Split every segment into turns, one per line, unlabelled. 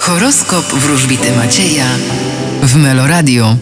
Horoskop wróżbity Macieja w Meloradio.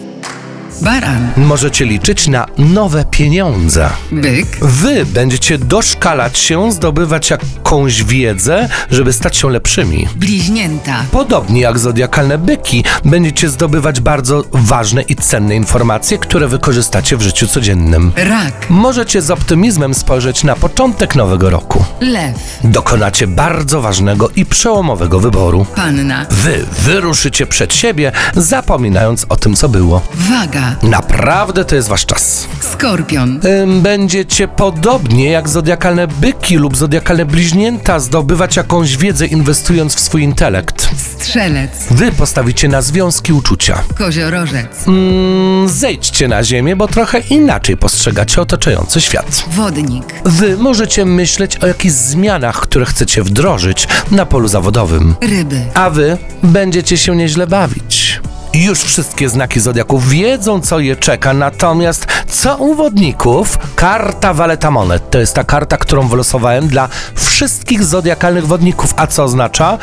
Baran,
Możecie liczyć na nowe pieniądze.
byk,
Wy będziecie doszkalać się, zdobywać jakąś wiedzę, żeby stać się lepszymi.
bliźnięta,
Podobnie jak zodiakalne byki, będziecie zdobywać bardzo ważne i cenne informacje, które wykorzystacie w życiu codziennym.
rak,
Możecie z optymizmem spojrzeć na początek nowego roku.
lew,
Dokonacie bardzo ważnego i przełomowego wyboru.
panna,
Wy wyruszycie przed siebie, zapominając o tym, co było.
waga,
Naprawdę to jest wasz czas.
skorpion,
Ym, Będziecie podobnie jak zodiakalne byki lub zodiakalne bliźnięta zdobywać jakąś wiedzę inwestując w swój intelekt.
strzelec,
Wy postawicie na związki uczucia.
koziorożec,
Mm, Zejdźcie na ziemię, bo trochę inaczej postrzegacie otaczający świat.
wodnik,
Wy możecie myśleć o jakichś zmianach, które chcecie wdrożyć na polu zawodowym.
ryby,
A wy będziecie się nieźle bawić. Już wszystkie znaki zodiaku wiedzą, co je czeka, natomiast co u wodników? Karta Valeta Monet. To jest ta karta, którą wylosowałem dla wszystkich zodiakalnych wodników. A co oznacza?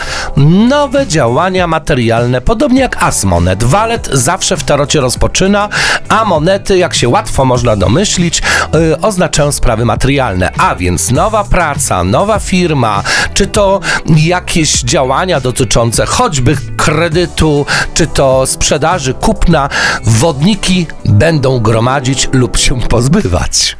Nowe działania materialne, podobnie jak As Monet. Walet zawsze w tarocie rozpoczyna, a monety, jak się łatwo można domyślić, yy, oznaczają sprawy materialne. A więc nowa praca, nowa firma, czy to jakieś działania dotyczące choćby kredytu, czy to sprzedaży, kupna, wodniki będą gromadzić lub się pozbywać.